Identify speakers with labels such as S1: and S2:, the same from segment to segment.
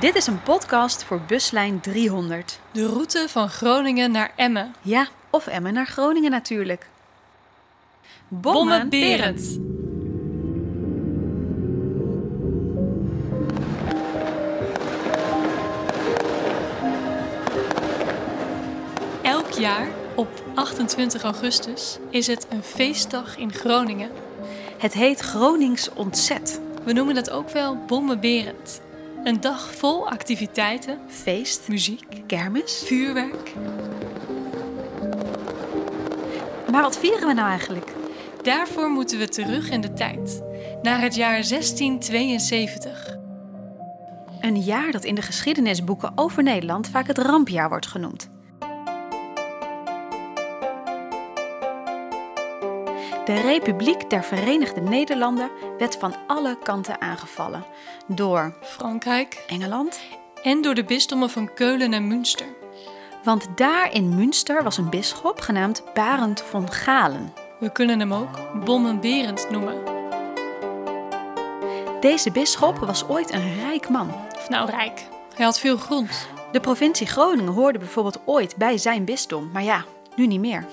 S1: Dit is een podcast voor buslijn 300.
S2: De route van Groningen naar Emmen.
S1: Ja, of Emmen naar Groningen natuurlijk.
S2: Bommen Berend. Elk jaar op 28 augustus is het een feestdag in Groningen.
S1: Het heet Gronings Ontzet.
S2: We noemen dat ook wel Bommen Berend. Een dag vol activiteiten,
S1: Feest,
S2: muziek,
S1: kermis.
S2: vuurwerk.
S1: Maar wat vieren we nou eigenlijk?
S2: Daarvoor moeten we terug in de tijd, naar het jaar 1672.
S1: Een jaar dat in de geschiedenisboeken over Nederland vaak het rampjaar wordt genoemd. De Republiek der Verenigde Nederlanden werd van alle kanten aangevallen. Door
S2: Frankrijk
S1: Engeland,
S2: en door de bisdommen van Keulen en Münster.
S1: want daar in Münster was een bisschop genaamd Barend von Galen.
S2: We kunnen hem ook Bommenberend noemen.
S1: Deze bisschop was ooit een rijk man.
S2: Of nou rijk. Hij had veel grond.
S1: De provincie Groningen hoorde bijvoorbeeld ooit bij zijn bisdom, maar ja, nu niet meer.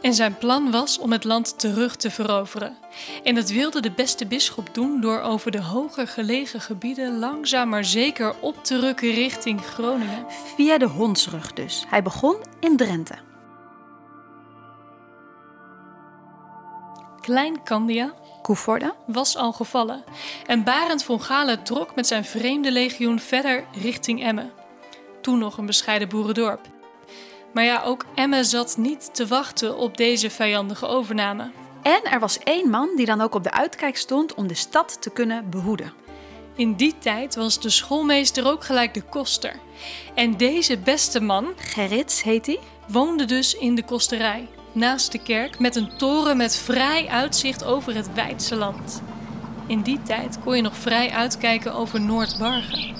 S2: En zijn plan was om het land terug te veroveren. En dat wilde de beste bisschop doen door over de hoger gelegen gebieden langzaam maar zeker op te rukken richting Groningen.
S1: Via de Hondsrug dus. Hij begon in Drenthe.
S2: Klein Candia
S1: Koevoorde,
S2: was al gevallen en Barend von Galen trok met zijn vreemde legioen verder richting Emmen. Toen nog een bescheiden boerendorp. Maar ja, ook Emmen zat niet te wachten op deze vijandige overname.
S1: En er was één man die dan ook op de uitkijk stond om de stad te kunnen behoeden.
S2: In die tijd was de schoolmeester ook gelijk de koster. En deze beste man
S1: Gerrits heet hij.
S2: woonde dus in de kosterij, naast de kerk, met een toren met vrij uitzicht over het Weidse land. In die tijd kon je nog vrij uitkijken over Noordbargen.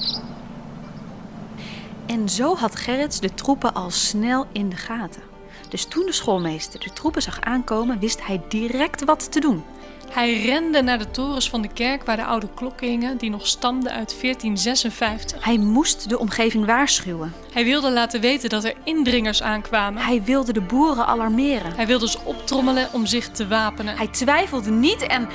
S1: En zo had Gerrits de troepen al snel in de gaten. Dus toen de schoolmeester de troepen zag aankomen, wist hij direct wat te doen.
S2: Hij rende naar de torens van de kerk waar de oude klokken hingen, die nog stamden uit 1456.
S1: Hij moest de omgeving waarschuwen.
S2: Hij wilde laten weten dat er indringers aankwamen.
S1: Hij wilde de boeren alarmeren.
S2: Hij wilde ze optrommelen om zich te wapenen.
S1: Hij twijfelde niet en.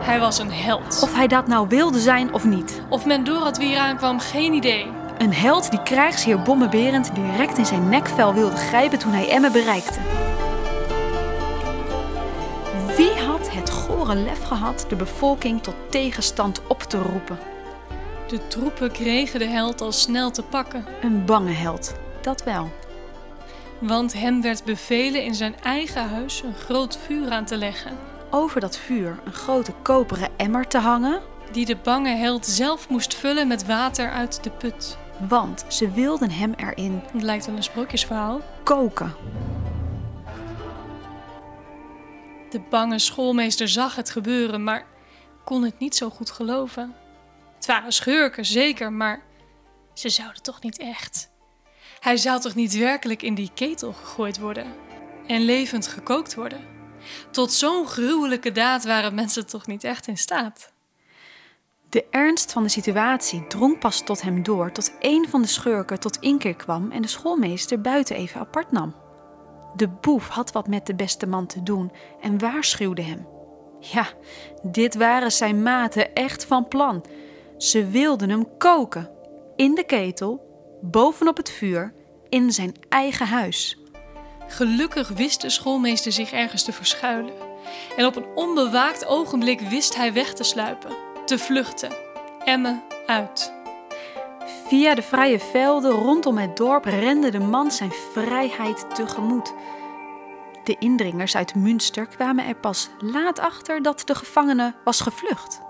S2: Hij was een held.
S1: Of hij dat nou wilde zijn of niet.
S2: Of men door had wie hier aankwam, geen idee.
S1: Een held die krijgsheer Bommeberend direct in zijn nekvel wilde grijpen toen hij Emmen bereikte. Wie had het gore lef gehad de bevolking tot tegenstand op te roepen?
S2: De troepen kregen de held al snel te pakken.
S1: Een bange held, dat wel.
S2: Want hem werd bevelen in zijn eigen huis een groot vuur aan te leggen.
S1: Over dat vuur een grote koperen emmer te hangen,
S2: Die de bange held zelf moest vullen met water uit de put.
S1: want ze wilden hem erin
S2: Het lijkt wel een sprookjesverhaal.
S1: koken.
S2: De bange schoolmeester zag het gebeuren, maar kon het niet zo goed geloven. Het waren schurken, zeker, maar ze zouden toch niet echt. Hij zou toch niet werkelijk in die ketel gegooid worden en levend gekookt worden? Tot zo'n gruwelijke daad waren mensen toch niet echt in staat.
S1: De ernst van de situatie drong pas tot hem door tot een van de schurken tot inkeer kwam en de schoolmeester buiten even apart nam. De boef had wat met de beste man te doen en waarschuwde hem. Ja, dit waren zijn maten echt van plan. Ze wilden hem koken. In de ketel, bovenop het vuur, in zijn eigen huis.
S2: Gelukkig wist de schoolmeester zich ergens te verschuilen. En op een onbewaakt ogenblik wist hij weg te sluipen, te vluchten. Emmen uit.
S1: Via de vrije velden rondom het dorp rende de man zijn vrijheid tegemoet. De indringers uit Münster kwamen er pas laat achter dat de gevangene was gevlucht.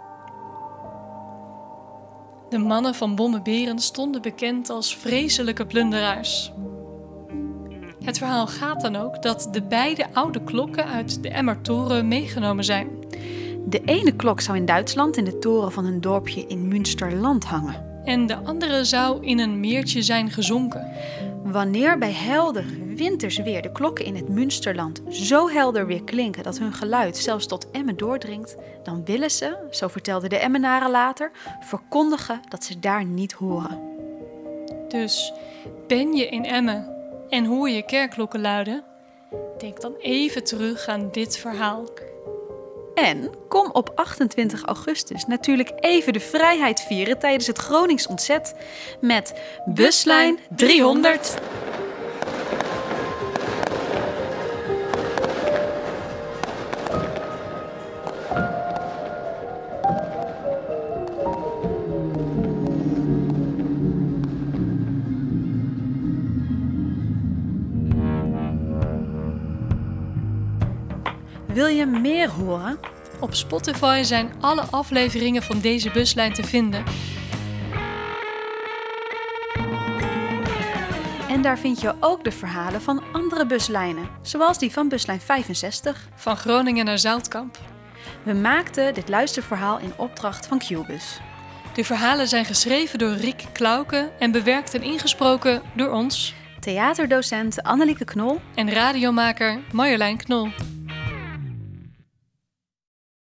S2: De mannen van Bommeberen stonden bekend als vreselijke plunderaars. Het verhaal gaat dan ook dat de beide oude klokken uit de Emmertoren meegenomen zijn.
S1: De ene klok zou in Duitsland in de toren van een dorpje in Münsterland hangen.
S2: En de andere zou in een meertje zijn gezonken.
S1: Wanneer bij helder winters weer de klokken in het Münsterland zo helder weer klinken dat hun geluid zelfs tot Emmen doordringt, dan willen ze, zo vertelden de Emmenaren later, verkondigen dat ze daar niet horen.
S2: Dus ben je in Emmen en hoor je kerkklokken luiden? Denk dan even terug aan dit verhaal.
S1: En kom op 28 augustus natuurlijk even de vrijheid vieren tijdens het Gronings ontzet met Buslijn 300. Wil je meer horen?
S2: Op Spotify zijn alle afleveringen van deze buslijn te vinden.
S1: En daar vind je ook de verhalen van andere buslijnen, zoals die van buslijn 65.
S2: Van Groningen naar Zoutkamp.
S1: We maakten dit luisterverhaal in opdracht van QBus.
S2: De verhalen zijn geschreven door Rick Klauke en bewerkt en ingesproken door ons
S1: Theaterdocent Annelieke Knol
S2: en radiomaker Marjolein Knol.